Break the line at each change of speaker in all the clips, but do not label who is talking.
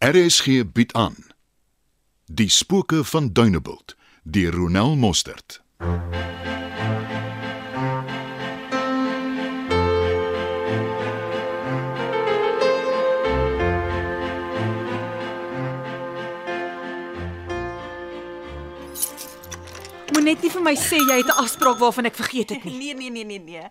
RSG bied aan Die spooke van Dunebuld deur Ronel Mostert.
Moet net nie vir my sê jy het 'n afspraak waarvan ek vergeet het nie.
Nee nee nee nee nee.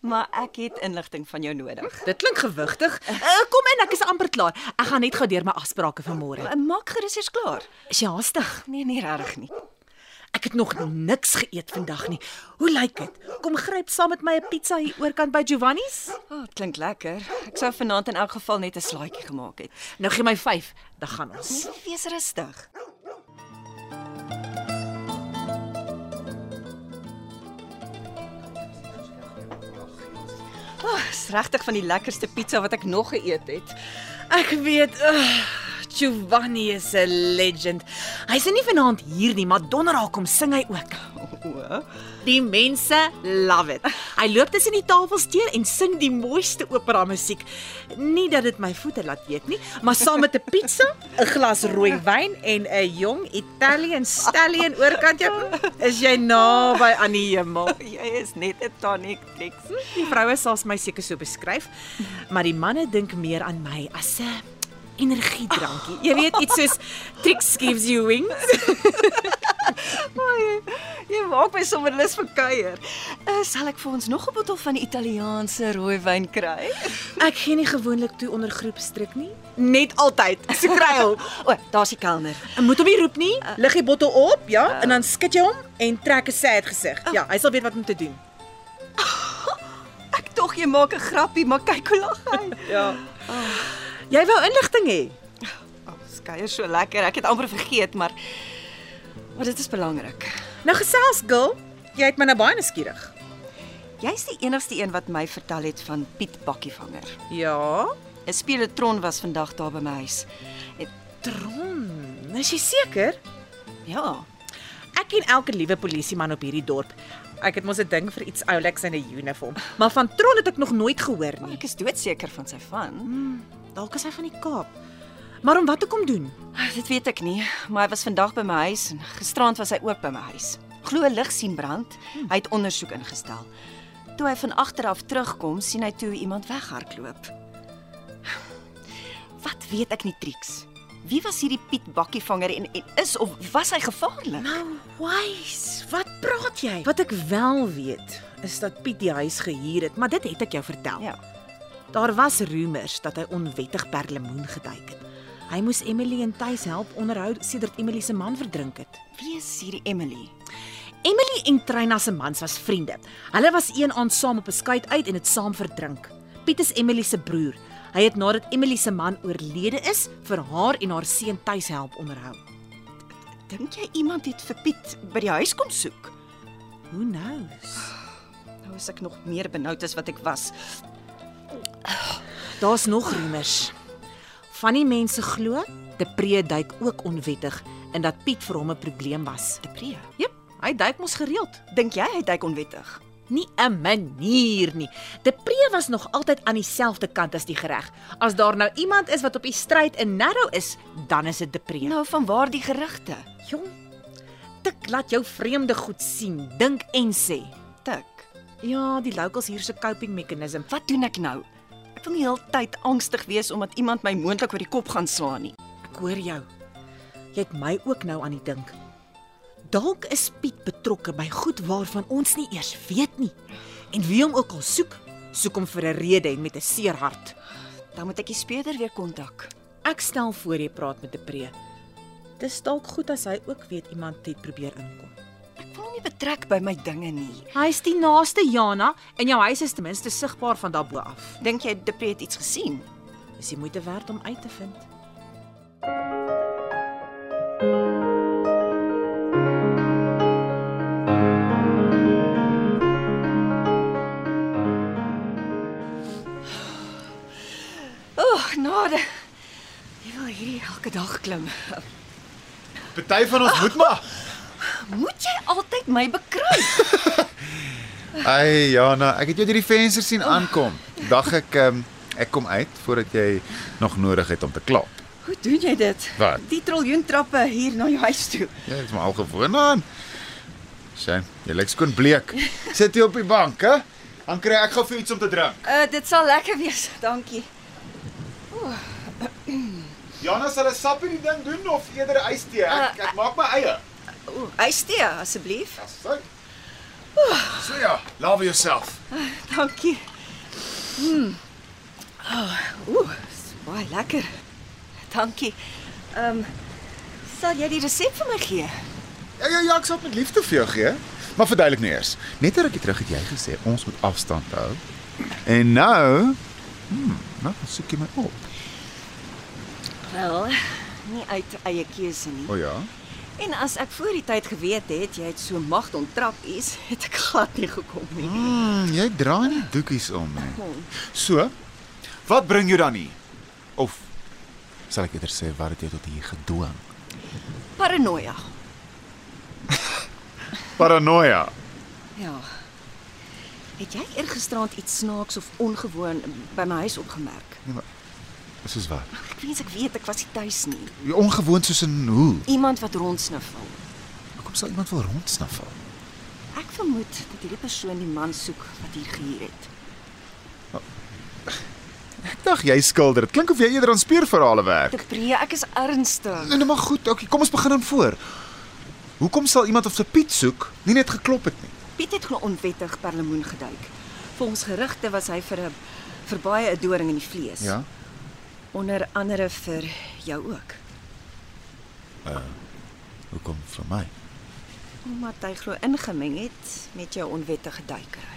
Maar ek het inligting van jou nodig.
Dit klink gewigtig. Uh, kom in, ek is amper klaar. Ek gaan net gou deur my afsprake van môre.
Maak gerus eers klaar.
Is jy haastig?
Nee nee regtig nie.
Ek het nog niks geëet vandag nie. Hoe lyk dit? Kom gryp saam met my 'n pizza hier oorkant by Giovanni's.
O, oh, dit klink lekker. Ek sou vanaand in elk geval net 'n slaaitjie gemaak het.
Nou gee my 5, dan gaan ons.
Wees rustig. O, oh, is regtig van die lekkerste pizza wat ek nog geëet het.
Ek weet, uh, Giovanni is 'n legend. Hy's nie vanaand hier nie, maar donderdag kom sing hy ook.
O, oh,
Die mense love it. Hy loop tussen die tafels deur en sing die mooiste opera musiek. Nie dat dit my voete laat weet nie, maar saam met 'n pizza, 'n glas rooi wyn en 'n jong Italian stallion oorkant jou, is jy naby aan die hemel.
jy is net 'n tonic flex.
Die vroue sal my seker so beskryf, maar die manne dink meer aan my as 'n energiedrankie. Jy weet iets soos Trix gives you wings.
Oei, jy maak my sommer lus vir kuier. Uh, sal ek vir ons nog 'n bottel van die Italiaanse rooiwyn kry?
Ek gee nie gewoonlik toe onder groepsdruk nie, net altyd. So kry hom.
O, oh, daar's die kelner.
En Moet hom nie roep nie. Lig die bottel op, ja, en dan skud jy hom en trek 'n sad gesig. Ja, hy sal weet wat om te doen.
Ek tog jy maak 'n grappie, maar kyk hoe lag hy.
Ja. Jy wou inligting hê.
Oh, skeier so lekker. Ek het amper vergeet, maar maar dit is belangrik.
Nou gesels, girl. Jy het my nou baie nuuskierig.
Jy's die enigste een wat my vertel het van Piet Bakkievanger.
Ja.
'n Speletron was vandag daar by my huis. Het,
Tron, Nou is jy seker?
ja.
Ek ken elke liewe polisieman op hierdie dorp. Ek het mos 'n ding vir iets ouliks in 'n uniform, maar van Tron het ek nog nooit gehoor
Maar
nie.
ek is doodseker van sy van.
Dalk is hy van die Kaap. Maar om wat te kom doen?
Ah, Dit weet ek nie, maar hy was vandag by my huis en gisterand was hy ook by my huis. Glo 'n lig sien brand. Hy het ondersoek ingestel. Toe hy van agter af terugkom, sien hy toe iemand weghardloop. Wat weet ek nie, Trix. Wie was hierdie Piet Bakkievanger en, en is of was hy gevaarlik?
Nou, wys, wat praat jy? Wat ek wel weet, is dat Piet die huis gehuur het, maar dit het ek jou vertel.
Ja.
Daar was roemers dat hy onwettig per lemoen geduik het. Hy moes Emily en Tuis help onderhou sedert Emily se man verdrink het.
Wie is hierdie Emily?
Emily en Trina se mans was vriende. Hulle was een aand saam op 'n skuit uit en het saam verdrink. Piet is Emily se broer. Hy het nadat Emily se man oorlede is, vir haar en haar seun tuis help onderhou.
Dink jy iemand het vir Piet by die huis kom soek?
Who knows?
Nou is ek nog meer benoud as wat ek was.
Daar's nog roemers. Van die mense glo Depree duik ook onwettig en dat Piet vir hom 'n probleem was.
Depree.
Jep, hy duik mos gereeld.
Dink jy hy het hy onwettig?
Nie 'n manier nie. Depree was nog altyd aan dieselfde kant as die gereg. As daar nou iemand is wat op die stryd in narrow is, dan is dit Depree.
Nou vanwaar die gerugte?
jong, tik laat jou vreemde goed sien, dink en sê.
Tik.
Ja, die locals hier se coping meganisme.
Wat doen ek nou? Ek wil nie heeltyd angstig wees omdat iemand my moontlik oor die kop gaan slaan nie.
Ek hoor jou. Jy het my ook nou aan die dink. Dalk is Piet betrokke by goed waarvan ons nie eers weet nie. En wie hom ook al soek, soek hom vir 'n rede en met 'n seer hart.
Dan moet ek die speurder weer kontak.
Ek stel voor jy praat met Depree. Dis dalk goed as hy ook weet iemand het probeer inkom.
Ek wil hom nie betrek by my dinge nie.
Hy's die naaste Jana en jou huis is ten minste sigbaar van daarbo af.
Dink jy Depree het iets gesien?
Is die moeite werd om uit te vind.
O, oh, genade. Jy wil hierdie elke dag klim.
Party van ons moet maar.
Moet jy altyd my bekruip?
Ai Jana, ek het jou deur die venster ehm, sien aankom. Dag ek um, ek kom uit voordat jy nog nodig het om te klap.
Hoe doen jy dit?
Wat?
Die triljoen trappe hier na jou huis toe.
Jy is maar al gewoond aan. Sien, jy lyk skoon bleek. Sit jy op die bank, hè? Dan kry ek gou vir iets om te drink.
Uh dit sal lekker wees, dankie.
Jana sal 'n sap in die ding doen of eerder ystee. Ek, ek maak my eie.
Ooh, ystee asseblief.
Dis fyn. So ja, love yourself.
Dankie. Hmm. Mm. Ooh, dis baie lekker. Dankie. Ehm um, sal jy die resep vir my gee?
Ja ja, ja ek sal dit met liefde vir jou gee, maar verduidelik nou eers. Net 'n rukkie terug het jy gesê ons moet afstand hou. En nou, hm, nou soek jy my op.
Wel, nie uit eie keuse nie.
O oh, ja.
En as ek voor die tyd geweet het jy het so mag ontrap is, het ek glad nie gekom nie. Hmm.
Mm, jy draai nie doekies om nie. So, wat bring jou dan hier? Of sal ek eerder sê wat het jou tot hier gedwing?
Paranoia.
Paranoia.
Ja. Het jy eergisteraand iets snaaks of ongewoon by my huis opgemerk?
Soos wat?
Ek wens ek weet ek was nie tuis nie.
Jy ongewoon soos in hoe?
Iemand wat rondsniffel.
Hoekom sal iemand wil rondsniffel?
Ek vermoed dat hierdie persoon die man soek wat hier gehuur het.
Ek dink jy skilder. Dit klink of jy eerder aan speurverhale werk.
Depree, ek is ernstig.
Nee, nee, maar goed, okay, kom ons begin dan voor. Hoekom sal iemand op sy Piet soek nie net geklop het nie?
Piet het glo onwettig per lemoen geduik. Volgens gerugte was hy vir 'n vir baie 'n doring in die vlees.
Ja.
Onder andere vir jou ook.
hoekom vir my?
Omdat hy glo ingemeng het met jou onwettige duikery.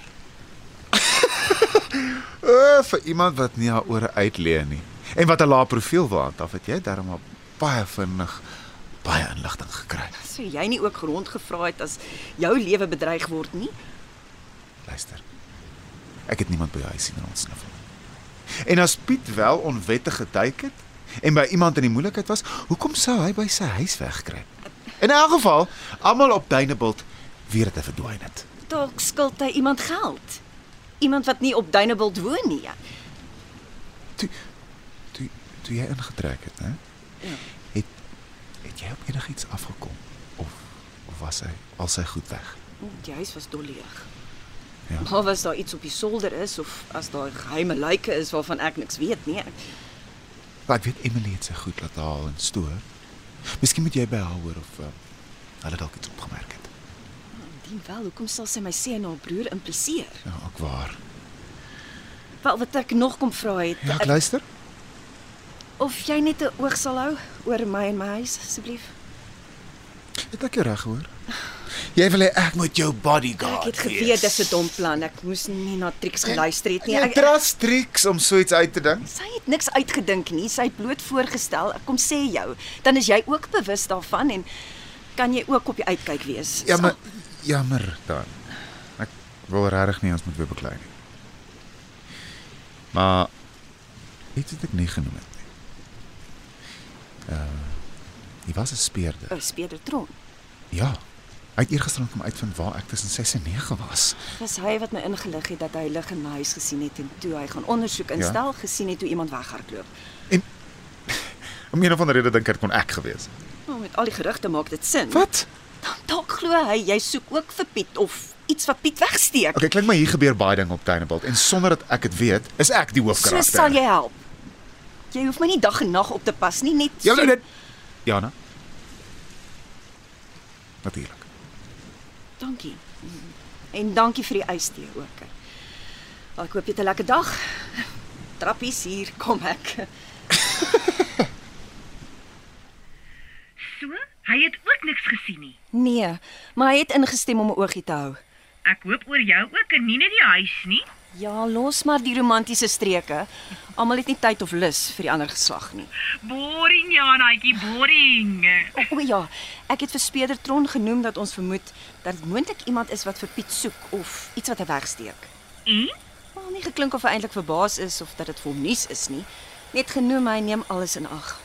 Uh, vir iemand wat nie haar ore uitleen nie en wat 'n lae profiel waant, af het jy darm maar baie vinnig baie inligting gekry.
So jy nie ook rondgevra het as jou lewe bedreig word nie?
Luister. Ek het niemand by die huis sien ontsniffel. En as Piet wel onwettig geduik het en by iemand in die moeilikheid was, hoekom sou hy by sy huis wegkruip? In elk geval, almal op Duinebult weet dit hy verdwyn het.
Dalk skuld hy iemand geld. Iemand wat nie op Duneveld woon nie. ja.
Toe toe toe jy ingetrek het, hè? Het het jy op enigiets afgekom of of was hy al sy goed weg?
Die huis was dolledig.
Ja.
Ja. Maar was daar iets op die solder is of as daar geheime lyke is waarvan ek niks weet nie. Ek,
Maar ek weet Emily het sy goed laat haal en stoor. Miskien moet jy by haar hoor of uh, hulle dalk iets opgemerk het.
indien wel, hoekom sal sy my sê en haar broer impliseer?
Ja, ook waar.
Wel wat ek nog kom vra het,
Ja,
ek-
ek luister.
of jy net 'n oog sal hou oor my en my huis asseblief.
Het ek jou reg hoor? Jy wil hê ek moet jou bodyguard
Ek het geweet dis 'n dom plan. Ek moes nie na Trix geluister het nie.
Nee,
Ek, ek,
trust tricks om so iets uit te dink.
sy het niks uitgedink nie. Sy het bloot voorgestel. Ek kom sê jou, dan is jy ook bewus daarvan en kan jy ook op die uitkyk wees.
Ja,
Dis
maar
al-
jammer dan. Ek wil regtig nie ons moet weer beklei nie. Maar iets het ek nie genoem het nie. Uh, hy was 'n speerder.
O, Spedertron.
Ja. Hy het eergisterand kom uitvind waar ek tussen 6 en 9 was.
Dis hy wat my ingelig het dat hy lig in my huis gesien het en toe hy gaan ondersoek instel ja? gesien het hoe iemand weghardloop.
Om een of ander rede dink ek dit kon ek gewees het.
Nou met al die gerugte maak dit sin.
Wat?
Dan dalk glo hy jy soek ook vir Piet of iets wat Piet wegsteek.
Okay, klink my hier gebeur baie ding op Tuinebult en sonder dat ek dit weet, is ek die hoofkarakter.
so sal jy help. Jy hoef my nie dag en nag op te pas nie, net
Ja,
so-
nou dit. Jana. Natuurlik.
Dankie. En dankie vir die ystee ook. Wel, Ek hoop jy het 'n lekker dag. Trappies hier kom ek.
So, hy het ook niks gesien nie.
Nee, maar hy het ingestem om 'n oogie te hou.
Ek hoop oor jou ook en nie net die huis nie.
Ja, los maar die romantiese streke. Almal het nie tyd of lus vir die ander geslag nie.
Boring Janaatjie, boring.
O, o ja, ek het vir Spedertron genoem dat ons vermoed dat dit moontlik iemand is wat vir Piet soek of iets wat hy wegsteek.
En
Maar nie geklink of hy eintlik verbaas is of dat dit vir hom nuus is nie. Net genoem hy neem alles in ag.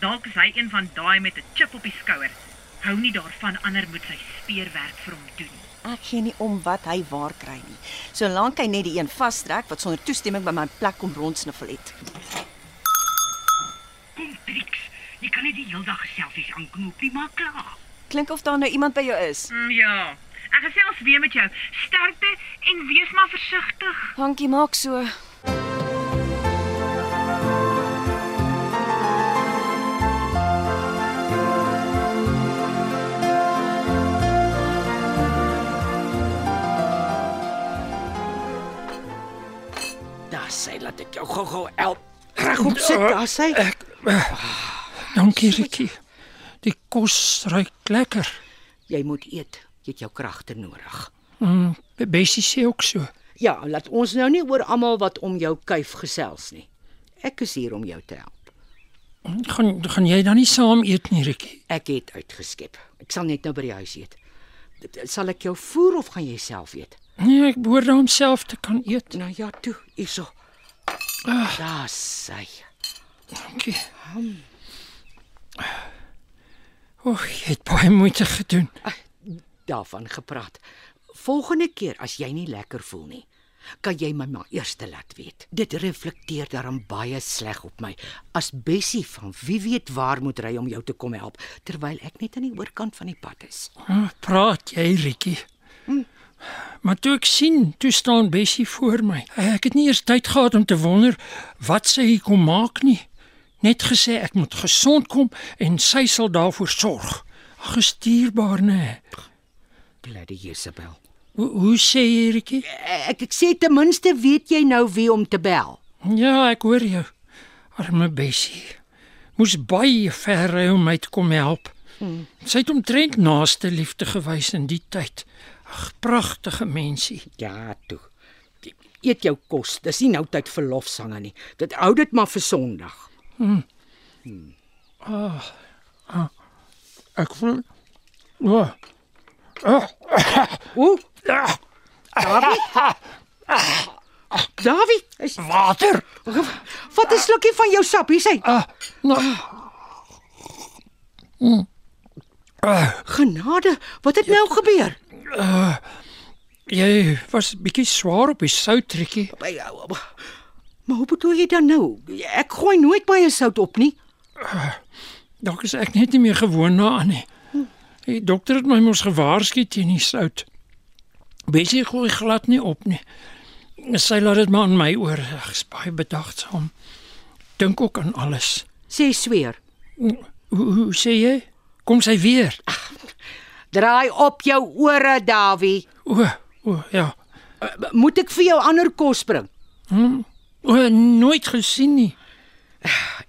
dalk is hy een van daai met 'n chip op die skouer. Hou nie daarvan ander moet sy speerwerk vir hom doen.
Ek gee nie om wat hy waar kry nie, solank hy net die een vastrek wat sonder toestemming by my plek kom rondsniffel het.
Kom Jy kan nie die hele dag selfies aanknoop nie, maar klaar.
Klink of daar nou iemand by jou is.
Mm, ja. Ek gesels weer met jou. Sterkte en wees maar versigtig.
Dankie, maak so.
Daar sê laat ek jou gou-gou help.
Ja.
Kom sit daar sy.
Dankie, Rikkie. Die kos ruik lekker.
Jy moet eet. Jy het jou kragte nodig.
Mm, Bessie sê ook so.
Ja, laat ons nou nie oor almal wat om jou kuif gesels nie. Ek is hier om jou te help.
Gaan gaan jy dan nie saam eet nie, Rikkie?
Ek het uitgeskep. Ek sal net nou by die huis eet. D- d- Sal ek jou voer of gaan jy self eet?
Nee, ek behoort dan homself te kan eet. Ah.
Nou ja, toe, hierso. Daar sê.
Dankie. Hm. O, oh, jy het baie moeite gedoen.
Daarvan gepraat. Volgende keer as jy nie lekker voel nie, kan jy my maar eers laat weet. Dit reflekteer daarom baie sleg op my as Bessie van wie weet waar moet ry om jou te kom help terwyl ek net aan die oorkant van die pad is.
Ah, Praat jy, Rikkie? Maar toe ek sien, toe staan Bessie voor my. Eh, Ek het nie eers tyd gehad om te wonder wat sy hier kom maak nie. Net gesê ek moet gesond kom en sy sal daarvoor sorg. Gestuurbaar, né?
Bloody Jezebel.
Hoe, hoe sê jy, Rikkie?
Ek ek sê ten minste weet jy nou wie om te bel.
Ja, ek hoor jou. Arme Bessie. Moes baie ver ry om my te kom help. Sy het omtrent naaste liefde gewys in die tyd. Ag, pragtige mensie.
Ja, toe. Eet jou kos. Dis nie nou tyd vir lofsange nie. Dit hou dit maar vir Sondag.
Ek voel ja.
O, Dawie, is,
Water.
vat 'n slukkie van jou sap. Hier sê,
Ah, nou,
genade, wat het nou gebeur?
jy was bietjie swaar op die soutrekkie.
By jou. Maar hoe bedoel jy dan nou? Ek gooi nooit baie sout op nie.
Dalk is ek net nie meer gewoond daaraan nie. Die dokter het my mos gewaarsku teen die sout. Besig gooi glad nie op nie. Sy laat dit maar aan my oor. Ek is baie bedagsaam. Dink ook aan alles.
Sê sweer.
Hoe, hoe sê jy? Kom sy weer?
Draai op jou ore, Dawie.
O, o ja.
Moet ek vir jou ander kos bring?
O, nooit gesien nie.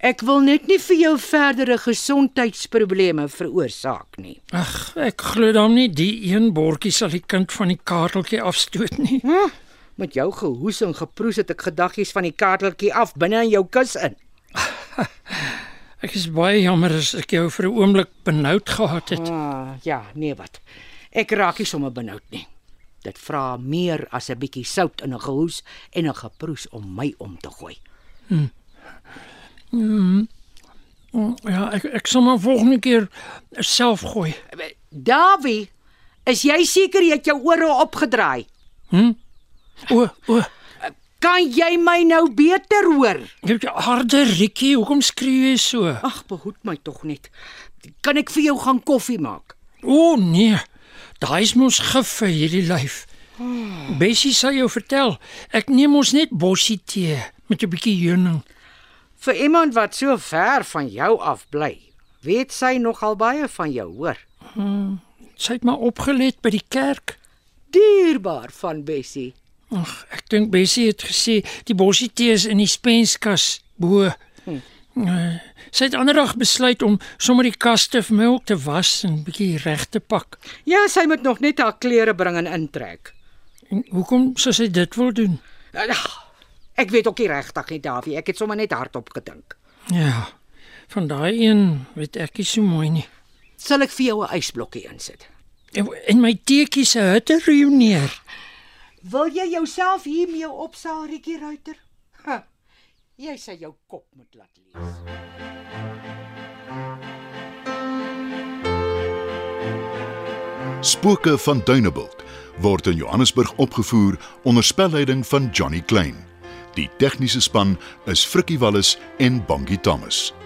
Ek wil net nie vir jou verdere gesondheidsprobleme veroorsaak nie.
Ag, ek glo dan nie die een bordjie sal die kind van die kaarteltjie afstoot nie.
Met jou gehoes en geproes het ek gedaggies van die kaarteltjie af binne in jou kus in.
Ek is baie jammer as ek jou vir 'n oomblik benoud gehad het.
Ah, ja, nee wat. Ek raak nie sommer benoud nie. Dit vra meer as 'n bietjie sout in 'n gehoes en 'n geproes om my om te gooi.
Ja, ek ek sal maar volgende keer self gooi.
Dawie, is jy seker jy het jou ore opgedraai?
O, o,
Kan jy my nou beter hoor?
jy harde Rikkie, hoekom skree jy so?
Ag, behoed my tog net. Kan ek vir jou gaan koffie maak?
O nee. Daai is mos gif vir hierdie lyf. Bessie sal jou vertel, ek neem mos net bossie tee met 'n bietjie heuning.
Vir iemand wat so ver van jou af bly, weet sy nogal baie van jou, hoor.
Sy het maar opgelet by die kerk.
Dierbaar van Bessie.
Ag, ek dink Bessie het gesê die bossie tee is in die spenskas bo. Eh, Sy het ander dag besluit om sommer die kaste vir my ook te was en bietjie reg te pak.
Ja, sy moet nog net haar klere bring en intrek.
En hoekom sou sy dit wil doen?
Ag, Nou, ja, ek weet ook nie regtig nie, Davie. Ek het sommer net hardop gedink.
Ja. Van daai een weet ek nie so mooi nie.
Sal ek vir jou 'n ysblokkie insit?
En, en my teetjie se hitte reuneer.
Wil jy jouself hiermee opsaal, Rietjie Ruiter? Ha, jy sê jou kop moet laat lees.
Spooke van Dunebuld word in Johannesburg opgevoer onder spelleiding van Johnny Klein. Die tegniese span is Frikkie Wallis en Bongie Thomas.